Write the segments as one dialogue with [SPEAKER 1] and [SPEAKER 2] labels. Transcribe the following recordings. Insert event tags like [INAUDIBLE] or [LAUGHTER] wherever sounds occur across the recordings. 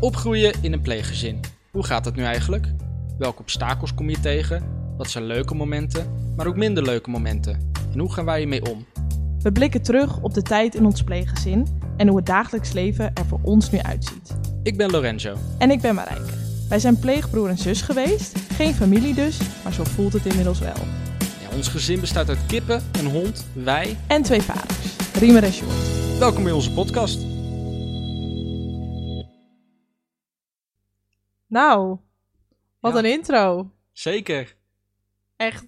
[SPEAKER 1] Opgroeien in een pleeggezin. Hoe gaat dat nu eigenlijk? Welke obstakels kom je tegen? Wat zijn leuke momenten, maar ook minder leuke momenten? En hoe gaan wij hiermee om?
[SPEAKER 2] We blikken terug op de tijd in ons pleeggezin en hoe het dagelijks leven er voor ons nu uitziet.
[SPEAKER 1] Ik ben Lorenzo.
[SPEAKER 2] En ik ben Marijke. Wij zijn pleegbroer en zus geweest, geen familie dus, maar zo voelt het inmiddels wel.
[SPEAKER 1] Ja, ons gezin bestaat uit kippen, een hond, wij.
[SPEAKER 2] En twee vaders, Riemer en Sjoerd.
[SPEAKER 1] Welkom bij onze podcast.
[SPEAKER 2] Nou, wat
[SPEAKER 1] Ja.
[SPEAKER 2] een intro.
[SPEAKER 1] Zeker.
[SPEAKER 2] Echt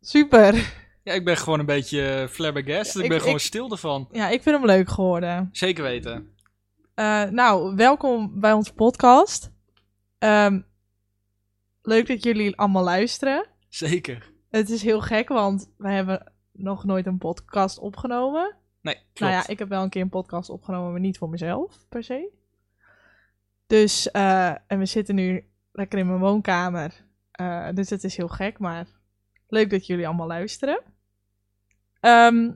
[SPEAKER 2] super.
[SPEAKER 1] Ja, ik ben gewoon een beetje eh, flabbergast.
[SPEAKER 2] Ja,
[SPEAKER 1] ik
[SPEAKER 2] ik-
[SPEAKER 1] ben gewoon
[SPEAKER 2] ik-
[SPEAKER 1] stil ervan.
[SPEAKER 2] Ja, ik vind hem leuk geworden.
[SPEAKER 1] Zeker weten.
[SPEAKER 2] Eh, nou, welkom bij onze podcast. Ehm, leuk dat jullie allemaal luisteren.
[SPEAKER 1] Zeker.
[SPEAKER 2] Het is heel gek, want wij hebben nog nooit een podcast opgenomen.
[SPEAKER 1] Nee, klopt.
[SPEAKER 2] Nou ja, ik heb wel een keer een podcast opgenomen, maar niet voor mezelf per se. Dus, eh, en we zitten nu lekker in mijn woonkamer. Eh, dus het is heel gek, maar leuk dat jullie allemaal luisteren. Ehm,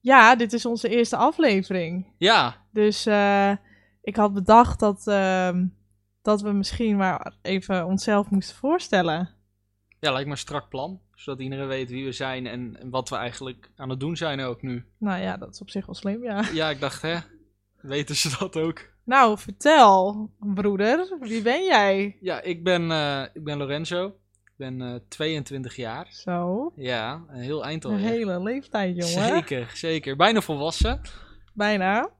[SPEAKER 2] ja, dit is onze eerste aflevering.
[SPEAKER 1] Ja,
[SPEAKER 2] Dus eh, ik had bedacht dat, ehm, dat we misschien maar even onszelf moesten voorstellen.
[SPEAKER 1] ja, lijkt me een strak plan. Zodat iedereen weet wie we zijn en, en wat we eigenlijk aan het doen zijn ook nu.
[SPEAKER 2] Nou ja, dat is op zich wel slim, ja.
[SPEAKER 1] Ja, ik dacht, hè, weten ze dat ook?
[SPEAKER 2] Nou, vertel, broeder, wie ben jij?
[SPEAKER 1] Ja, ik ben, eh, ik ben Lorenzo. Ik ben eh, 22 jaar.
[SPEAKER 2] Zo,
[SPEAKER 1] Ja, een heel eind
[SPEAKER 2] een
[SPEAKER 1] alweer.
[SPEAKER 2] hele leeftijd, jongen.
[SPEAKER 1] Zeker, zeker. Bijna volwassen.
[SPEAKER 2] Bijna.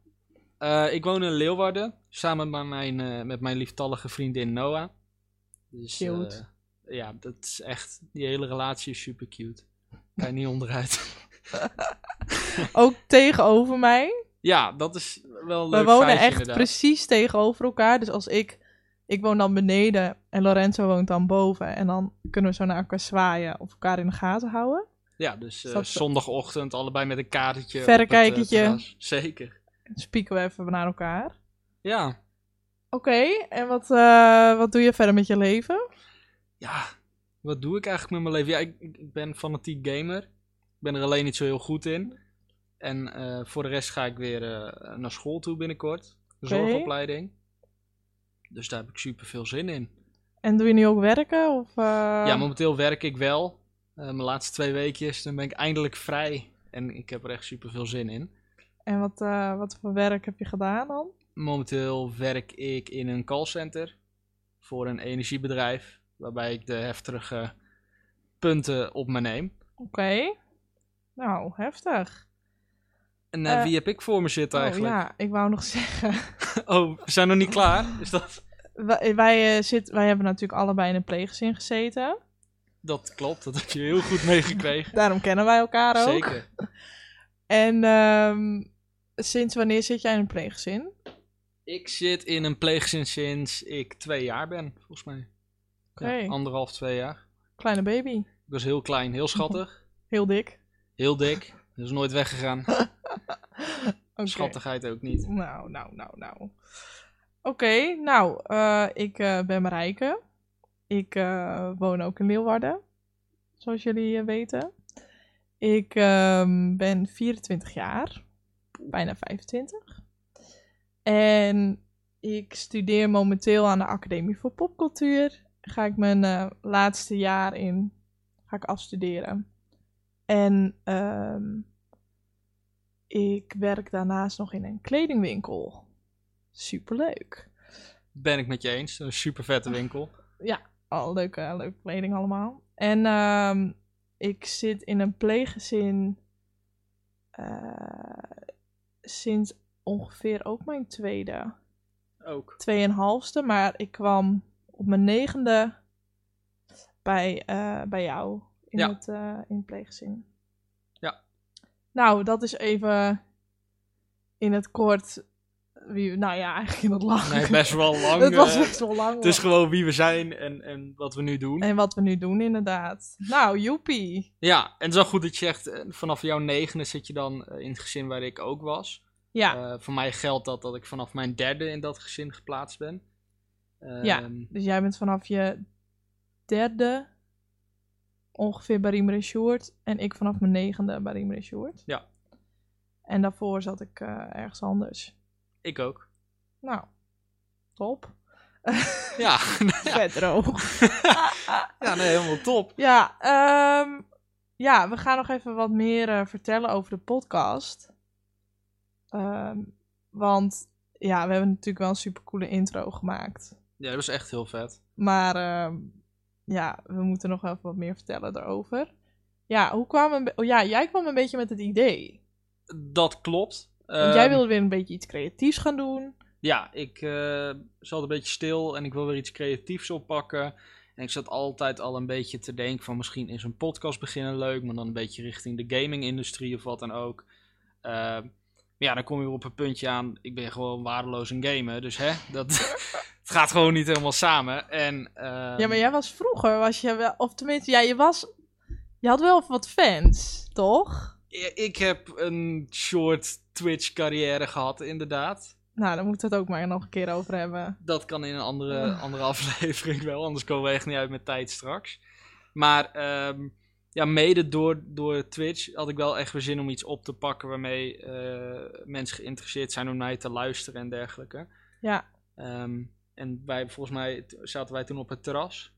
[SPEAKER 1] Eh, ik woon in Leeuwarden, samen met mijn, eh, met mijn lieftallige vriendin Noah. Dus, eh,
[SPEAKER 2] Cute.
[SPEAKER 1] ja, dat is echt, die hele relatie is super cute. Kan je niet onderuit. [LAUGHS]
[SPEAKER 2] Ook tegenover mij.
[SPEAKER 1] ja, dat is wel een
[SPEAKER 2] We
[SPEAKER 1] leuk
[SPEAKER 2] wonen
[SPEAKER 1] feitje,
[SPEAKER 2] echt
[SPEAKER 1] inderdaad.
[SPEAKER 2] precies tegenover elkaar. Dus als ik, ik woon dan beneden en Lorenzo woont dan boven. En dan kunnen we zo naar elkaar zwaaien of elkaar in de gaten houden.
[SPEAKER 1] Ja, dus eh,
[SPEAKER 2] Is dat-
[SPEAKER 1] zondagochtend allebei met een kaartje. op
[SPEAKER 2] Verrekijkertje.
[SPEAKER 1] het, eh, terras. Zeker.
[SPEAKER 2] Dan spieken we even naar elkaar.
[SPEAKER 1] Ja,
[SPEAKER 2] Oké, en wat, eh, wat doe je verder met je leven?
[SPEAKER 1] ja, wat doe ik eigenlijk met mijn leven? Ja, ik, ik- ik ben fanatiek gamer. Ik ben er alleen niet zo heel goed in. En eh, voor de rest ga ik weer eh, naar school toe binnenkort. Een
[SPEAKER 2] Oké.
[SPEAKER 1] Zorgopleiding. Dus daar heb ik super veel zin in.
[SPEAKER 2] En doe je nu ook werken? Of, eh,
[SPEAKER 1] Ja, momenteel werk ik wel. Eh, mijn laatste twee weekjes, dan ben ik eindelijk vrij. En ik heb er echt super veel zin in.
[SPEAKER 2] En wat, eh, wat voor werk heb je gedaan dan?
[SPEAKER 1] Momenteel werk ik in een callcenter voor een energiebedrijf. Waarbij ik de heftige punten op me neem.
[SPEAKER 2] Oké. Nou, heftig.
[SPEAKER 1] En eh,
[SPEAKER 2] Eh,
[SPEAKER 1] wie heb ik voor me zitten
[SPEAKER 2] Oh,
[SPEAKER 1] eigenlijk?
[SPEAKER 2] ja, ik wou nog [LAUGHS] zeggen.
[SPEAKER 1] [LAUGHS] Oh, we zijn nog niet klaar. Is dat...
[SPEAKER 2] Wij, wij, eh, zit, wij hebben natuurlijk allebei in een pleeggezin gezeten.
[SPEAKER 1] dat klopt, dat heb je heel goed
[SPEAKER 2] [LAUGHS]
[SPEAKER 1] meegekregen.
[SPEAKER 2] Daarom kennen wij elkaar ook.
[SPEAKER 1] Zeker.
[SPEAKER 2] En ehm, sinds wanneer zit jij in een pleeggezin?
[SPEAKER 1] Ik zit in een pleegzin sinds ik twee jaar ben, volgens mij. Ja,
[SPEAKER 2] Oké.
[SPEAKER 1] anderhalf, twee jaar.
[SPEAKER 2] Kleine baby.
[SPEAKER 1] Ik was heel klein, heel schattig,
[SPEAKER 2] Heel dik.
[SPEAKER 1] heel dik. Dus nooit
[SPEAKER 2] [LAUGHS]
[SPEAKER 1] weggegaan.
[SPEAKER 2] Oké.
[SPEAKER 1] Schattigheid ook niet.
[SPEAKER 2] Nou, nou, nou, nou. Oké, nou, eh, ik eh, ben Marijke. Ik eh, woon ook in Leeuwarden, zoals jullie eh, weten. Ik ehm, ben 24 jaar, bijna 25. En ik studeer momenteel aan de Academie voor Popcultuur. Ga ik mijn eh, laatste jaar in, ga ik afstuderen. En ehm, ik werk daarnaast nog in een kledingwinkel. Superleuk.
[SPEAKER 1] Ben ik met je eens. Een super vette winkel.
[SPEAKER 2] Al leuke, leuke kleding allemaal. En ehm, ik zit in een pleeggezin eh, sinds ongeveer ook mijn tweede,
[SPEAKER 1] Ook.
[SPEAKER 2] tweeënhalfste. Maar ik kwam op mijn negende bij, eh, bij jou in,
[SPEAKER 1] Ja.
[SPEAKER 2] het, eh, in het pleeggezin.
[SPEAKER 1] Ja.
[SPEAKER 2] Nou, dat is even in het kort. Wie, nou ja, eigenlijk in het lang.
[SPEAKER 1] Nee, best
[SPEAKER 2] [LAUGHS]
[SPEAKER 1] wel lang.
[SPEAKER 2] Het was
[SPEAKER 1] eh,
[SPEAKER 2] best wel Eh. lang.
[SPEAKER 1] het is gewoon wie we zijn en, en wat we nu doen.
[SPEAKER 2] En wat we nu doen, inderdaad. Nou, joepie.
[SPEAKER 1] Ja, en het is wel goed dat je zegt, eh, vanaf jouw negende zit je dan eh, in het gezin waar ik ook was.
[SPEAKER 2] Ja,
[SPEAKER 1] Eh, voor mij geldt dat dat ik vanaf mijn derde in dat gezin geplaatst ben.
[SPEAKER 2] Ja.
[SPEAKER 1] Ehm,
[SPEAKER 2] dus jij bent vanaf je derde ongeveer bij Riemer en Sjoerd. En ik vanaf mijn negende bij Riemer en Sjoerd.
[SPEAKER 1] Ja.
[SPEAKER 2] En daarvoor zat ik eh, ergens anders.
[SPEAKER 1] Ik ook.
[SPEAKER 2] Nou, top.
[SPEAKER 1] Ja,
[SPEAKER 2] Vet droog.
[SPEAKER 1] [LAUGHS] ja nee, helemaal top.
[SPEAKER 2] [LAUGHS] Ja, ehm, ja, we gaan nog even wat meer eh, vertellen over de podcast. Ehm, want ja, we hebben natuurlijk wel een supercoole intro gemaakt.
[SPEAKER 1] Ja, dat was echt heel vet.
[SPEAKER 2] Maar ehm, ja, we moeten nog even wat meer vertellen daarover. Ja, hoe kwam een be- oh, ja, jij kwam een beetje met het idee.
[SPEAKER 1] Dat klopt.
[SPEAKER 2] Want jij
[SPEAKER 1] Ehm,
[SPEAKER 2] wilde weer een beetje iets creatiefs gaan doen.
[SPEAKER 1] Ja, ik eh, zat een beetje stil en ik wil weer iets creatiefs oppakken. En ik zat altijd al een beetje te denken van misschien is een podcast beginnen leuk, maar dan een beetje richting de gaming-industrie of wat dan ook. Eh, maar ja, dan kom je weer op een puntje aan, ik ben gewoon waardeloos in gamen, dus hè, dat [LAUGHS] het gaat gewoon niet helemaal samen. En, ehm,
[SPEAKER 2] ja, maar jij was vroeger, was je wel, of tenminste, ja, je was, je had wel wat fans, toch?
[SPEAKER 1] i- ik heb een short Twitch-carrière gehad, inderdaad.
[SPEAKER 2] Nou, daar moeten we het ook maar nog een keer over hebben.
[SPEAKER 1] Dat kan in een andere,
[SPEAKER 2] Ah.
[SPEAKER 1] andere [LAUGHS] aflevering wel, anders komen we echt niet uit met tijd straks. Maar ehm, ja, mede door, door Twitch had ik wel echt weer zin om iets op te pakken waarmee eh, mensen geïnteresseerd zijn om naar je te luisteren en dergelijke.
[SPEAKER 2] Ja.
[SPEAKER 1] Ehm, en wij, volgens mij t- zaten wij toen op het terras.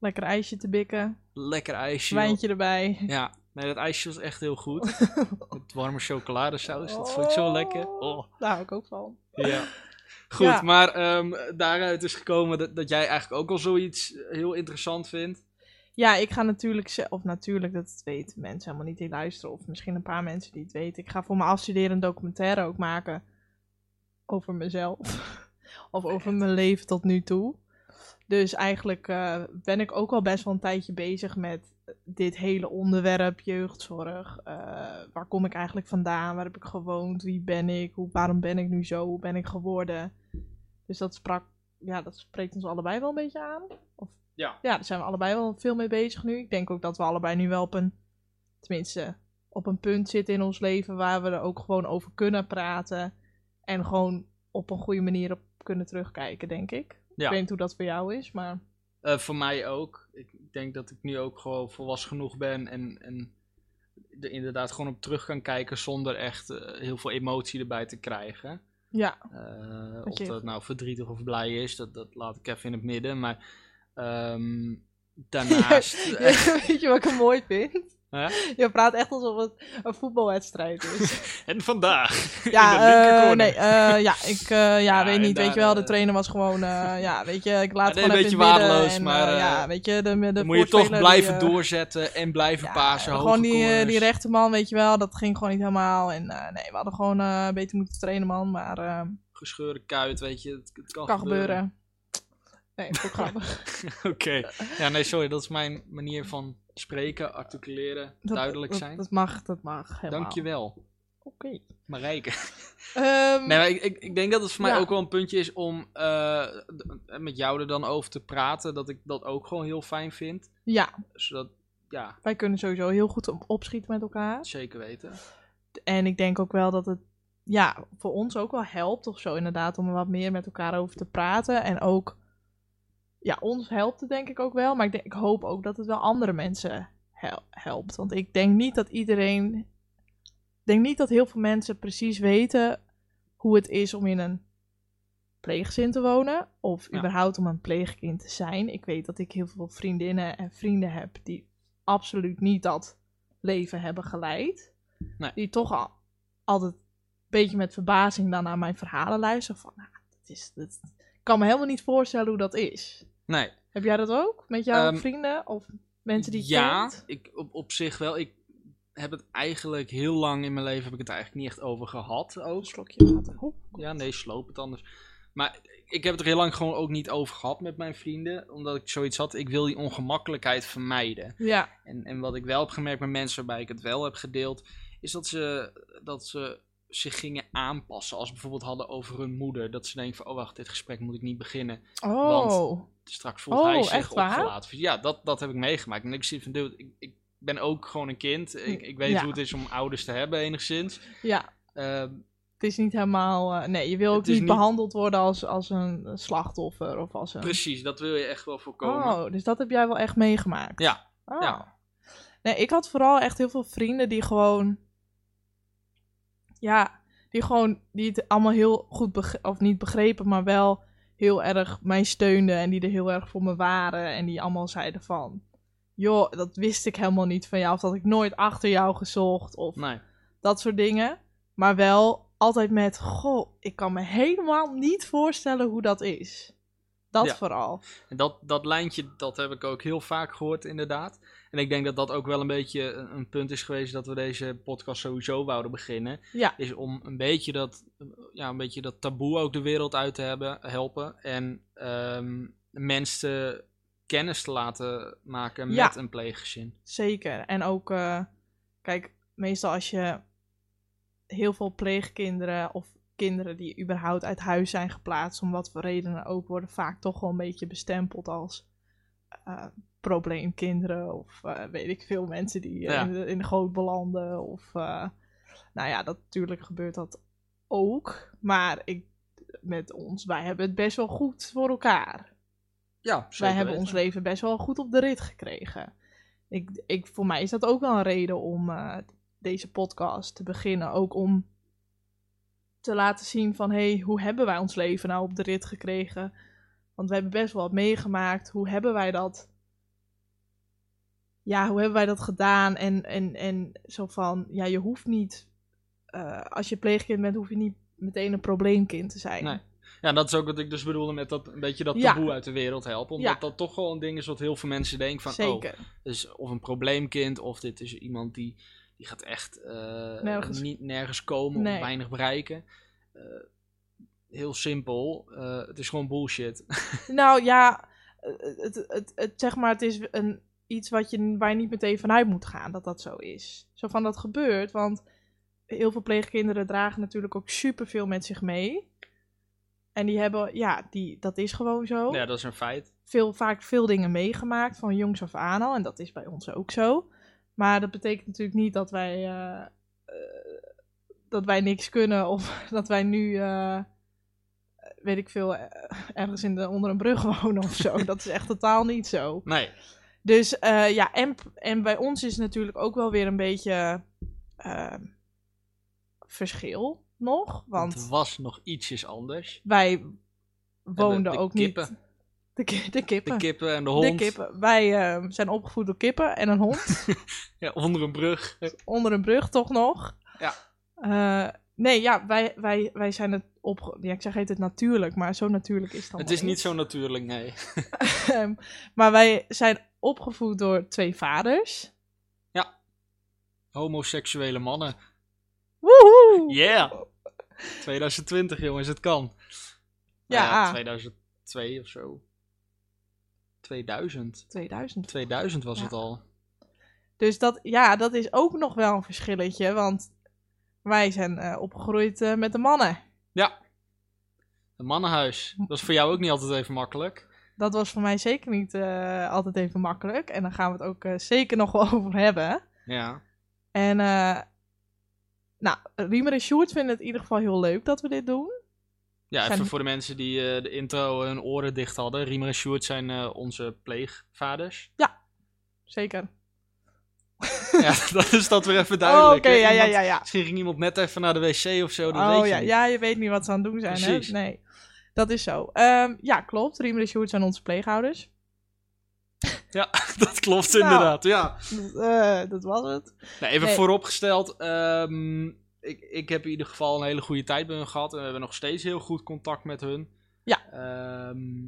[SPEAKER 2] Lekker ijsje te bikken.
[SPEAKER 1] Lekker ijsje.
[SPEAKER 2] Wijntje erbij.
[SPEAKER 1] Ja, nee, dat ijsje was echt heel goed.
[SPEAKER 2] Oh.
[SPEAKER 1] met warme chocoladesaus, [LAUGHS] dat vond ik zo lekker. Oh.
[SPEAKER 2] Daar hou ik ook van.
[SPEAKER 1] Ja. Goed,
[SPEAKER 2] Ja.
[SPEAKER 1] maar ehm, daaruit is gekomen dat, dat jij eigenlijk ook al zoiets eh, heel interessant vindt.
[SPEAKER 2] Ja, ik ga natuurlijk, ze- of natuurlijk, dat weten mensen helemaal niet die luisteren. Of misschien een paar mensen die het weten. Ik ga voor mijn afstuderen een documentaire ook maken. Over mezelf. [LAUGHS] of over mijn leven tot nu toe. Dus eigenlijk eh, ben ik ook al best wel een tijdje bezig met eh, dit hele onderwerp jeugdzorg. Eh, waar kom ik eigenlijk vandaan? Waar heb ik gewoond? Wie ben ik? Hoe, waarom ben ik nu zo? Hoe ben ik geworden? Dus dat, sprak, ja, dat spreekt ons allebei wel een beetje aan. Of,
[SPEAKER 1] Ja.
[SPEAKER 2] ja, daar zijn we allebei wel veel mee bezig nu. Ik denk ook dat we allebei nu wel op een, tenminste, op een punt zitten in ons leven waar we er ook gewoon over kunnen praten. En gewoon op een goede manier op kunnen terugkijken, denk ik.
[SPEAKER 1] Ja.
[SPEAKER 2] Ik weet niet hoe dat voor jou is, maar
[SPEAKER 1] Eh, voor mij ook. Ik denk dat ik nu ook gewoon volwassen genoeg ben en, en er inderdaad gewoon op terug kan kijken zonder echt eh, heel veel emotie erbij te krijgen.
[SPEAKER 2] ja,
[SPEAKER 1] [LAUGHS] Eh,
[SPEAKER 2] Dat
[SPEAKER 1] of
[SPEAKER 2] je-
[SPEAKER 1] dat nou verdrietig of blij is, dat, dat laat ik even in het midden. Maar ehm,
[SPEAKER 2] [LAUGHS]
[SPEAKER 1] daarnaast. eh,
[SPEAKER 2] weet je wat ik er mooi vind?
[SPEAKER 1] Hè?
[SPEAKER 2] Je praat echt alsof het een voetbalwedstrijd
[SPEAKER 1] [LAUGHS]
[SPEAKER 2] is.
[SPEAKER 1] En vandaag.
[SPEAKER 2] ja,
[SPEAKER 1] in de linker
[SPEAKER 2] eh,
[SPEAKER 1] corner.
[SPEAKER 2] nee, eh, ja, ik eh, ja,
[SPEAKER 1] Ja,
[SPEAKER 2] weet
[SPEAKER 1] en
[SPEAKER 2] niet. Weet
[SPEAKER 1] daar,
[SPEAKER 2] je wel, de
[SPEAKER 1] eh,
[SPEAKER 2] trainer was gewoon, eh, ja, weet je, ik laat
[SPEAKER 1] Ja, nee,
[SPEAKER 2] gewoon
[SPEAKER 1] een
[SPEAKER 2] even in
[SPEAKER 1] beetje
[SPEAKER 2] het midden
[SPEAKER 1] waardeloos,
[SPEAKER 2] en,
[SPEAKER 1] maar,
[SPEAKER 2] eh, ja,
[SPEAKER 1] eh,
[SPEAKER 2] weet je, de, de
[SPEAKER 1] Dan moet je toch
[SPEAKER 2] voorspeler die,
[SPEAKER 1] blijven
[SPEAKER 2] eh,
[SPEAKER 1] doorzetten en blijven
[SPEAKER 2] ja,
[SPEAKER 1] pasen. hoge
[SPEAKER 2] Gewoon die, eh, die
[SPEAKER 1] corners.
[SPEAKER 2] rechterman, weet je wel, dat ging gewoon niet helemaal. En eh, nee, we hadden gewoon eh, beter moeten trainen, man, maar eh,
[SPEAKER 1] gescheurde kuit, weet je, het, het kan,
[SPEAKER 2] kan gebeuren. Nee, vond ik grappig.
[SPEAKER 1] [LAUGHS] Oké. Ja, nee, sorry, dat is mijn manier van spreken, articuleren,
[SPEAKER 2] Dat-
[SPEAKER 1] duidelijk
[SPEAKER 2] dat-
[SPEAKER 1] zijn.
[SPEAKER 2] Dat, mag, dat mag. Helemaal.
[SPEAKER 1] Dankjewel,
[SPEAKER 2] Oké.
[SPEAKER 1] Marijke.
[SPEAKER 2] [LAUGHS] Ehm,
[SPEAKER 1] Nee, maar ik, ik, ik denk dat het voor mij
[SPEAKER 2] Ja.
[SPEAKER 1] ook wel een puntje is om eh, d- met jou er dan over te praten, dat ik dat ook gewoon heel fijn vind.
[SPEAKER 2] Ja,
[SPEAKER 1] Zodat, ja,
[SPEAKER 2] wij kunnen sowieso heel goed op- opschieten met elkaar.
[SPEAKER 1] zeker weten.
[SPEAKER 2] En ik denk ook wel dat het ja, voor ons ook wel helpt of zo inderdaad om er wat meer met elkaar over te praten. En ook, ja, ons helpt het denk ik ook wel. Maar ik, denk, ik hoop ook dat het wel andere mensen hel- helpt. Want ik denk niet dat iedereen, ik denk niet dat heel veel mensen precies weten hoe het is om in een pleegzin te wonen. Of
[SPEAKER 1] Ja.
[SPEAKER 2] überhaupt om een pleegkind te zijn. Ik weet dat ik heel veel vriendinnen en vrienden heb die absoluut niet dat leven hebben geleid.
[SPEAKER 1] Nee.
[SPEAKER 2] Die toch al, altijd een beetje met verbazing dan naar mijn verhalen luisteren. Van, nou, dat is, dat, ik kan me helemaal niet voorstellen hoe dat is.
[SPEAKER 1] Nee,
[SPEAKER 2] Heb jij dat ook met jouw
[SPEAKER 1] Ehm,
[SPEAKER 2] vrienden of mensen die je
[SPEAKER 1] ja,
[SPEAKER 2] kent?
[SPEAKER 1] ik, op, op zich wel. Ik heb het eigenlijk heel lang in mijn leven, heb ik het eigenlijk niet echt over gehad ook.
[SPEAKER 2] Een slokje water. Oh,
[SPEAKER 1] Ja, nee, sloop het anders. Maar ik heb het er heel lang gewoon ook niet over gehad met mijn vrienden. Omdat ik zoiets had, ik wil die ongemakkelijkheid vermijden.
[SPEAKER 2] Ja,
[SPEAKER 1] En, en wat ik wel heb gemerkt met mensen waarbij ik het wel heb gedeeld, is dat ze, dat ze zich gingen aanpassen. Als ze bijvoorbeeld hadden over hun moeder. Dat ze denken van, oh wacht, dit gesprek moet ik niet beginnen.
[SPEAKER 2] oh,
[SPEAKER 1] Straks voelt
[SPEAKER 2] Oh,
[SPEAKER 1] hij zich
[SPEAKER 2] echt waar?
[SPEAKER 1] opgelaten. Ja, dat, dat heb ik meegemaakt. En ik zit van, dude, ik, ik ben ook gewoon een kind. Ik, ik weet
[SPEAKER 2] Ja.
[SPEAKER 1] hoe het is om ouders te hebben enigszins.
[SPEAKER 2] ja.
[SPEAKER 1] Ehm,
[SPEAKER 2] Het is niet helemaal... eh, nee, je wil
[SPEAKER 1] Het
[SPEAKER 2] ook
[SPEAKER 1] is
[SPEAKER 2] niet,
[SPEAKER 1] niet-
[SPEAKER 2] behandeld worden als, als een slachtoffer of als een...
[SPEAKER 1] precies, dat wil je echt wel voorkomen.
[SPEAKER 2] Oh, dus dat heb jij wel echt meegemaakt?
[SPEAKER 1] Ja,
[SPEAKER 2] Oh.
[SPEAKER 1] ja.
[SPEAKER 2] Nee, ik had vooral echt heel veel vrienden die gewoon... Ja, die gewoon die het allemaal heel goed beg- of niet begrepen, maar wel heel erg mij steunden en die er heel erg voor me waren en die allemaal zeiden van, joh, dat wist ik helemaal niet van jou of dat had ik nooit achter jou gezocht of
[SPEAKER 1] Nee.
[SPEAKER 2] dat soort dingen, maar wel altijd met, goh, ik kan me helemaal niet voorstellen hoe dat is. Dat
[SPEAKER 1] Ja.
[SPEAKER 2] vooral.
[SPEAKER 1] En dat, dat lijntje, dat heb ik ook heel vaak gehoord, inderdaad. En ik denk dat dat ook wel een beetje een een punt is geweest dat we deze podcast sowieso wouden beginnen.
[SPEAKER 2] Ja.
[SPEAKER 1] Is om een beetje dat, ja, een beetje dat taboe ook de wereld uit te hebben, helpen. En ehm, mensen kennis te laten maken met
[SPEAKER 2] Ja.
[SPEAKER 1] een pleeggezin.
[SPEAKER 2] Zeker. En ook, eh, kijk, meestal als je heel veel pleegkinderen of kinderen die überhaupt uit huis zijn geplaatst, om wat voor redenen ook, worden vaak toch wel een beetje bestempeld als eh, probleemkinderen of eh, weet ik veel mensen die eh,
[SPEAKER 1] Ja.
[SPEAKER 2] in, de, in de goot belanden. Of, eh, nou ja, dat, natuurlijk gebeurt dat ook. Maar ik, met ons, wij hebben het best wel goed voor elkaar
[SPEAKER 1] Ja,
[SPEAKER 2] wij hebben ons leven best wel goed op de rit gekregen. Ik, ik, voor mij is dat ook wel een reden om eh, deze podcast te beginnen. Ook om te laten zien van, hé, hey, hoe hebben wij ons leven nou op de rit gekregen? Want we hebben best wel wat meegemaakt. Hoe hebben wij dat... Ja, hoe hebben wij dat gedaan? En, en, en zo van, ja, je hoeft niet... eh, als je pleegkind bent, hoef je niet meteen een probleemkind te zijn.
[SPEAKER 1] Nee. Ja, dat is ook wat ik dus bedoelde met dat, een beetje dat
[SPEAKER 2] Ja.
[SPEAKER 1] taboe uit de wereld helpen. Omdat
[SPEAKER 2] Ja.
[SPEAKER 1] dat toch wel een ding is wat heel veel mensen denken van... oh,
[SPEAKER 2] Zeker.
[SPEAKER 1] Dus of een probleemkind, of dit is iemand die, die gaat echt eh,
[SPEAKER 2] Nergens.
[SPEAKER 1] niet nergens komen
[SPEAKER 2] Nee.
[SPEAKER 1] of weinig bereiken. Eh, heel simpel, eh, het is gewoon bullshit.
[SPEAKER 2] [LAUGHS] Nou ja, eh, het, het, het, zeg maar, het is een, iets wat je, waar je niet meteen vanuit moet gaan dat dat zo is. Zo van dat gebeurt, want heel veel pleegkinderen dragen natuurlijk ook superveel met zich mee. En die hebben, ja, die, dat is gewoon zo
[SPEAKER 1] [LAUGHS] ja, dat is een feit.
[SPEAKER 2] veel, vaak veel dingen meegemaakt van jongs af aan al. En dat is bij ons ook zo. Maar dat betekent natuurlijk niet dat wij, eh, eh, dat wij niks kunnen. Of [LAUGHS] dat wij nu, eh, weet ik veel, eh, ergens in de, onder een brug [LAUGHS] wonen of zo. dat is echt totaal niet zo.
[SPEAKER 1] Nee,
[SPEAKER 2] Dus eh, ja, en, en bij ons is natuurlijk ook wel weer een beetje eh, verschil nog.
[SPEAKER 1] want
[SPEAKER 2] Want
[SPEAKER 1] het was nog ietsjes anders.
[SPEAKER 2] wij woonden
[SPEAKER 1] de
[SPEAKER 2] ook
[SPEAKER 1] kippen.
[SPEAKER 2] niet... De, ki- de
[SPEAKER 1] De
[SPEAKER 2] kippen.
[SPEAKER 1] kippen en de hond.
[SPEAKER 2] Ah, De kippen. Wij eh, zijn opgevoed door kippen en een
[SPEAKER 1] [LAUGHS]
[SPEAKER 2] hond.
[SPEAKER 1] Ja, onder een brug.
[SPEAKER 2] onder een brug toch nog.
[SPEAKER 1] Ja.
[SPEAKER 2] Eh, nee, ja, wij, wij, wij zijn het op. Ja, ik zeg heet het natuurlijk, maar zo natuurlijk is het dan
[SPEAKER 1] het is niet zo natuurlijk, nee.
[SPEAKER 2] Ehm, maar wij zijn opgevoed door twee vaders.
[SPEAKER 1] Homoseksuele mannen.
[SPEAKER 2] Woehoe!
[SPEAKER 1] Yeah! 2020, jongens, het kan. Nou
[SPEAKER 2] Ja, ah.
[SPEAKER 1] 2002 of zo. 2000.
[SPEAKER 2] 2000.
[SPEAKER 1] 2000 was
[SPEAKER 2] Ja.
[SPEAKER 1] het al.
[SPEAKER 2] Dus dat, ja, dat is ook nog wel een verschilletje, want wij zijn eh, opgegroeid eh, met de mannen.
[SPEAKER 1] Een mannenhuis. Dat is voor jou ook niet altijd even makkelijk.
[SPEAKER 2] Dat was voor mij zeker niet eh, altijd even makkelijk. En daar gaan we het ook eh, zeker nog wel [LAUGHS] over hebben.
[SPEAKER 1] Ja.
[SPEAKER 2] En eh nou, Riemer en Sjoerd vinden het in ieder geval heel leuk dat we dit doen.
[SPEAKER 1] Ja, even
[SPEAKER 2] Zijn-
[SPEAKER 1] voor de mensen die eh, de intro hun oren dicht hadden. Riemer en Sjoerd zijn eh, onze pleegvaders.
[SPEAKER 2] Zeker.
[SPEAKER 1] [LAUGHS] ja, dat is dat weer even duidelijk.
[SPEAKER 2] Oh, Oké,
[SPEAKER 1] hè?
[SPEAKER 2] ja, ja,
[SPEAKER 1] Iemand-
[SPEAKER 2] ja, ja.
[SPEAKER 1] Misschien ging iemand net even naar de wc of zo, dat
[SPEAKER 2] Oh
[SPEAKER 1] weet je
[SPEAKER 2] ja,
[SPEAKER 1] niet.
[SPEAKER 2] ja, je weet niet wat ze aan het doen zijn,
[SPEAKER 1] Precies.
[SPEAKER 2] hè? Nee, dat is zo. Ehm, ja, klopt. Riemer en Sjoerd zijn onze pleegouders.
[SPEAKER 1] [LAUGHS] dat klopt
[SPEAKER 2] Nou.
[SPEAKER 1] inderdaad, ja.
[SPEAKER 2] Dat, eh, dat was het.
[SPEAKER 1] Nou, even
[SPEAKER 2] Nee.
[SPEAKER 1] vooropgesteld, ehm, ik, ik heb in ieder geval een hele goede tijd bij hun gehad. En we hebben nog steeds heel goed contact met hun.
[SPEAKER 2] Ja.
[SPEAKER 1] Ehm,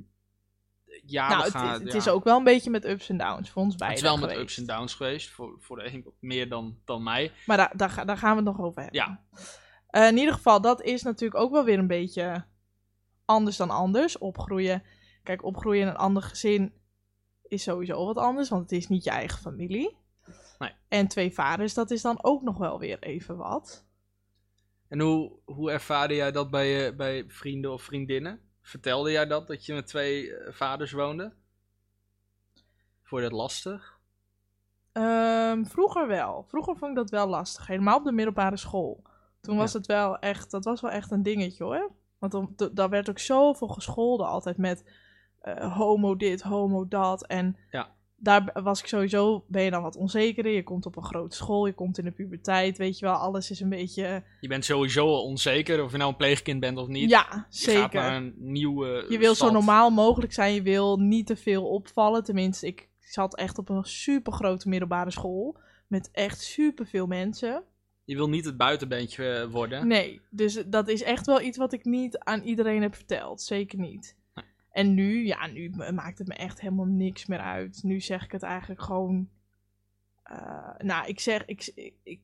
[SPEAKER 1] ja,
[SPEAKER 2] nou,
[SPEAKER 1] we
[SPEAKER 2] het,
[SPEAKER 1] gaan,
[SPEAKER 2] is- het
[SPEAKER 1] ja.
[SPEAKER 2] is ook wel een beetje met ups en downs voor ons beiden
[SPEAKER 1] Het is wel met
[SPEAKER 2] geweest.
[SPEAKER 1] ups en downs geweest. Voor, voor de een wat meer dan, dan mij.
[SPEAKER 2] Maar daar, daar, ga- daar gaan we het nog over hebben.
[SPEAKER 1] Ja.
[SPEAKER 2] Eh, in ieder geval, dat is natuurlijk ook wel weer een beetje anders dan anders. Opgroeien. Kijk, opgroeien in een ander gezin is sowieso wat anders, want het is niet je eigen familie.
[SPEAKER 1] Nee.
[SPEAKER 2] En twee vaders, dat is dan ook nog wel weer even wat.
[SPEAKER 1] En hoe, hoe ervaarde jij dat bij, je, bij vrienden of vriendinnen? Vertelde jij dat, dat je met twee eh, vaders woonde? Vond je dat lastig?
[SPEAKER 2] Ehm, vroeger wel. Vroeger vond ik dat wel lastig. Helemaal op de middelbare school. Toen was het wel echt, dat was wel echt een dingetje hoor. Want dan- d- daar werd ook zoveel gescholden altijd met eh, homo dit, homo dat. En
[SPEAKER 1] Ja.
[SPEAKER 2] daar b- was ik sowieso, ben je dan wat onzekerder. Je komt op een grote school, je komt in de puberteit, weet je wel, alles is een beetje...
[SPEAKER 1] Je bent sowieso al onzeker of je nou een pleegkind bent of niet.
[SPEAKER 2] ja,
[SPEAKER 1] Je gaat
[SPEAKER 2] zeker.
[SPEAKER 1] naar een nieuwe eh,
[SPEAKER 2] Je wil zo
[SPEAKER 1] stad.
[SPEAKER 2] normaal mogelijk zijn. Je wil niet te veel opvallen. Tenminste, ik zat echt op een super grote middelbare school. Met echt super veel mensen.
[SPEAKER 1] Je wil niet het buitenbeentje eh, worden.
[SPEAKER 2] Nee, dus dat is echt wel iets wat ik niet aan iedereen heb verteld. Zeker niet. En nu, ja, nu ma- maakt het me echt helemaal niks meer uit. Nu zeg ik het eigenlijk gewoon. eh, nou, ik zeg. Ik, ik, ik-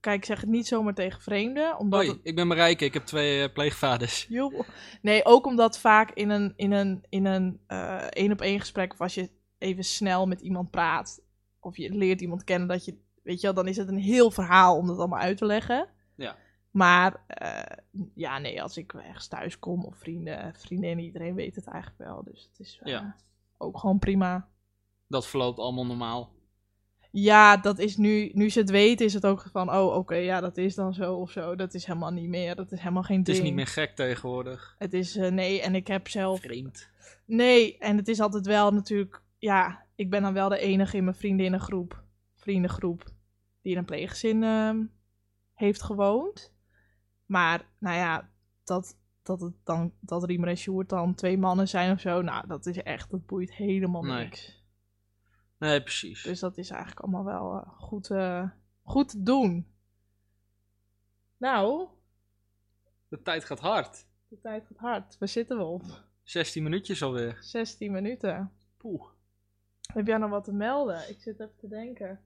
[SPEAKER 2] kijk, ik zeg het niet zomaar tegen vreemden. Omdat het-
[SPEAKER 1] Hoi, ik ben Marijke, ik heb twee eh, pleegvaders.
[SPEAKER 2] Joh. Nee, ook omdat vaak in een in een in een eh, één op één gesprek of als je even snel met iemand praat of je leert iemand kennen dat je weet je wel, dan is het een heel verhaal om dat allemaal uit te leggen.
[SPEAKER 1] Ja.
[SPEAKER 2] Maar eh, ja, nee, als ik ergens thuis kom of vrienden, vriendinnen, iedereen weet het eigenlijk wel, dus het is eh,
[SPEAKER 1] Ja.
[SPEAKER 2] ook gewoon prima.
[SPEAKER 1] Dat verloopt allemaal normaal.
[SPEAKER 2] Ja, dat is nu, nu ze het weten, is het ook van, oh, oké, ja, dat is dan zo of zo. Dat is helemaal niet meer, dat is helemaal geen
[SPEAKER 1] Het
[SPEAKER 2] ding. Oh.
[SPEAKER 1] is niet meer gek tegenwoordig.
[SPEAKER 2] Het is, eh, nee, en ik heb zelf
[SPEAKER 1] Vreemd.
[SPEAKER 2] Nee, en het is altijd wel natuurlijk, ja, ik ben dan wel de enige in mijn vriendinnengroep, vriendengroep, die in een pleeggezin ehm, heeft gewoond. Maar, nou ja, dat, dat, het dan, dat Riemer en Sjoerd dan twee mannen zijn of zo, nou, dat is echt, dat boeit helemaal
[SPEAKER 1] Nee.
[SPEAKER 2] niks.
[SPEAKER 1] Nee, precies.
[SPEAKER 2] Dus dat is eigenlijk allemaal wel eh, goed, eh, goed te doen. Nou,
[SPEAKER 1] De tijd gaat hard.
[SPEAKER 2] de tijd gaat hard. Waar zitten we op?
[SPEAKER 1] 16 minuutjes alweer.
[SPEAKER 2] 16 minuten.
[SPEAKER 1] Poeh.
[SPEAKER 2] Heb jij nog wat te melden? Ik zit even te denken.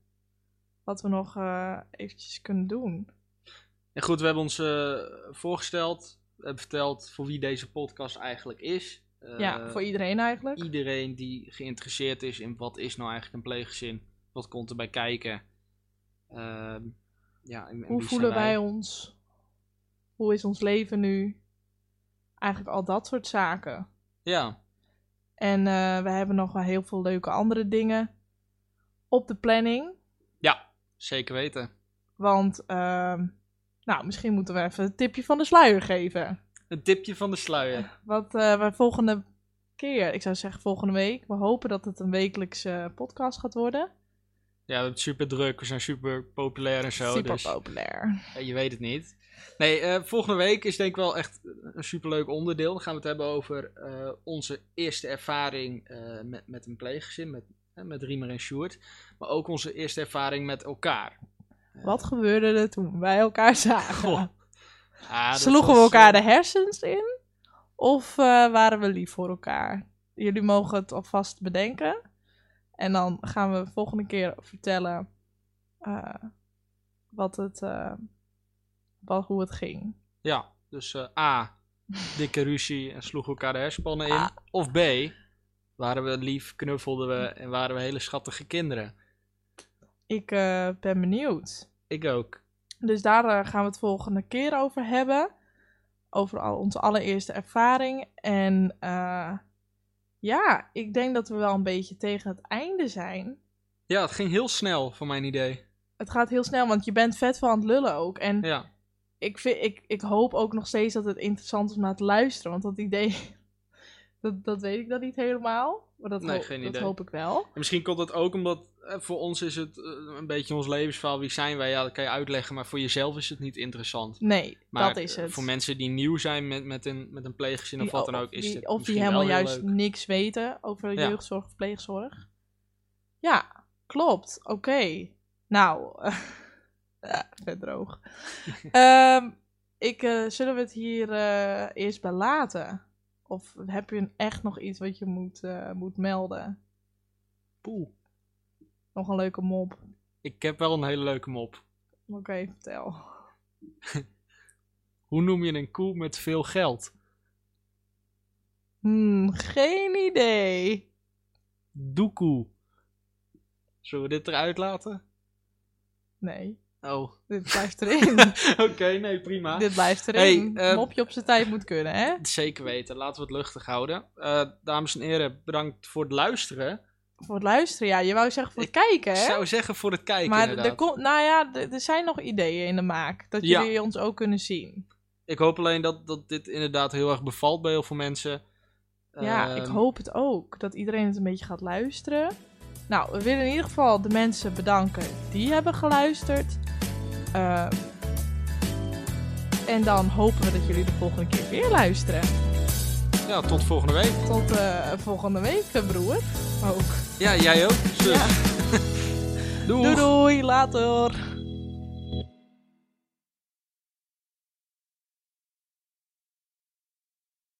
[SPEAKER 2] Wat we nog eh, eventjes kunnen doen.
[SPEAKER 1] En goed, we hebben ons eh, voorgesteld. We hebben verteld voor wie deze podcast eigenlijk is. Eh,
[SPEAKER 2] ja, voor iedereen eigenlijk.
[SPEAKER 1] iedereen die geïnteresseerd is in wat is nou eigenlijk een pleeggezin. Wat komt erbij kijken. Ehm, ja, en- en
[SPEAKER 2] Hoe
[SPEAKER 1] wie
[SPEAKER 2] voelen
[SPEAKER 1] zijn
[SPEAKER 2] wij ons? Hoe is ons leven nu? Eigenlijk al dat soort zaken.
[SPEAKER 1] Ja,
[SPEAKER 2] En eh, we hebben nog wel heel veel leuke andere dingen op de planning.
[SPEAKER 1] zeker weten.
[SPEAKER 2] Want, ehm, nou, misschien moeten we even een tipje van de sluier geven.
[SPEAKER 1] Een tipje van de sluier.
[SPEAKER 2] Wat eh we volgende keer, ik zou zeggen volgende week. We hopen dat het een wekelijkse eh, podcast gaat worden.
[SPEAKER 1] Ja, we hebben het super druk. We zijn super populair en zo.
[SPEAKER 2] Super
[SPEAKER 1] dus
[SPEAKER 2] populair.
[SPEAKER 1] eh, je weet het niet. Nee, eh, volgende week is denk ik wel echt een superleuk onderdeel. Dan gaan we het hebben over eh, onze eerste ervaring eh, met, met een pleeggezin. Met, eh, met Riemer en Sjoerd. Maar ook onze eerste ervaring met
[SPEAKER 2] [LAUGHS]
[SPEAKER 1] elkaar.
[SPEAKER 2] Wat gebeurde er toen wij elkaar zagen?
[SPEAKER 1] Goh. Ah, dat
[SPEAKER 2] Sloegen we
[SPEAKER 1] was,
[SPEAKER 2] elkaar
[SPEAKER 1] eh,
[SPEAKER 2] de hersens in? Of eh, waren we lief voor elkaar? Jullie mogen het alvast bedenken. En dan gaan we volgende keer vertellen eh, wat het, eh, wat, hoe het ging.
[SPEAKER 1] Ja, dus eh, A, dikke ruzie en sloegen elkaar de herspannen in.
[SPEAKER 2] Ah.
[SPEAKER 1] Of B, waren we lief, knuffelden we en waren we hele schattige kinderen.
[SPEAKER 2] Ik eh, ben benieuwd.
[SPEAKER 1] Ik ook.
[SPEAKER 2] Dus daar eh, gaan we het volgende keer over hebben. Over al onze allereerste ervaring. En eh, ja, ik denk dat we wel een beetje tegen het einde zijn.
[SPEAKER 1] Ja, het ging heel snel voor mijn idee.
[SPEAKER 2] Het gaat heel snel, want je bent vet van aan het lullen ook. En
[SPEAKER 1] Ja,
[SPEAKER 2] ik, vind, ik, ik hoop ook nog steeds dat het interessant is om naar te luisteren. Want dat idee, [LAUGHS] dat, dat weet ik dan niet helemaal. Maar dat,
[SPEAKER 1] Nee,
[SPEAKER 2] ho-
[SPEAKER 1] geen
[SPEAKER 2] dat
[SPEAKER 1] idee.
[SPEAKER 2] hoop ik wel.
[SPEAKER 1] en misschien komt dat ook omdat eh, voor ons is het eh, een beetje ons levensverhaal. Wie zijn wij? Ja, dat kan je uitleggen, maar voor jezelf is het niet interessant.
[SPEAKER 2] Nee,
[SPEAKER 1] Maar
[SPEAKER 2] dat is
[SPEAKER 1] eh,
[SPEAKER 2] het.
[SPEAKER 1] voor mensen die nieuw zijn met, met een, met een pleeggezin of
[SPEAKER 2] Die-
[SPEAKER 1] wat dan ook, is
[SPEAKER 2] die,
[SPEAKER 1] dit
[SPEAKER 2] Of die
[SPEAKER 1] misschien wel
[SPEAKER 2] helemaal
[SPEAKER 1] heel
[SPEAKER 2] juist
[SPEAKER 1] leuk.
[SPEAKER 2] niks weten over
[SPEAKER 1] Ja.
[SPEAKER 2] jeugdzorg of pleegzorg. Ja, klopt. Oké. Nou, [LAUGHS] ja,
[SPEAKER 1] [LAUGHS]
[SPEAKER 2] vet droog. Ehm, ik, eh, zullen we het hier eh, eerst bij laten? Of heb je echt nog iets wat je moet, eh, moet melden?
[SPEAKER 1] Poeh,
[SPEAKER 2] Nog een leuke mop.
[SPEAKER 1] ik heb wel een hele leuke mop.
[SPEAKER 2] Oké, vertel.
[SPEAKER 1] Hoe noem je een koe met veel geld?
[SPEAKER 2] Hmm, geen idee.
[SPEAKER 1] Doekoe. Zullen we dit eruit laten?
[SPEAKER 2] Nee,
[SPEAKER 1] Oh. [LAUGHS]
[SPEAKER 2] dit blijft erin.
[SPEAKER 1] Oké, nee, prima.
[SPEAKER 2] dit blijft erin.
[SPEAKER 1] Hey, eh,
[SPEAKER 2] Mopje op zijn tijd moet kunnen, hè?
[SPEAKER 1] Zeker weten, laten we het luchtig houden. Eh, dames en heren, bedankt voor het luisteren.
[SPEAKER 2] Voor het luisteren, ja. Je wou zeggen voor het kijken,
[SPEAKER 1] Ik
[SPEAKER 2] hè?
[SPEAKER 1] zou zeggen voor het kijken
[SPEAKER 2] maar
[SPEAKER 1] inderdaad.
[SPEAKER 2] er komt, nou ja, er er zijn nog ideeën in de maak. Dat
[SPEAKER 1] Ja.
[SPEAKER 2] jullie ons ook kunnen zien.
[SPEAKER 1] Ik hoop alleen dat, dat dit inderdaad heel erg bevalt bij heel veel mensen.
[SPEAKER 2] ja,
[SPEAKER 1] Ehm,
[SPEAKER 2] ik hoop het ook. Dat iedereen het een beetje gaat luisteren. Nou, we willen in ieder geval de mensen bedanken die hebben geluisterd. Eh, en dan hopen we dat jullie de volgende keer weer luisteren.
[SPEAKER 1] Ja, tot volgende week.
[SPEAKER 2] Tot eh, volgende week, eh, broer. Ook.
[SPEAKER 1] Ja, jij ook. Zus.
[SPEAKER 2] Ja.
[SPEAKER 1] Doeg.
[SPEAKER 2] Doei, doei, later.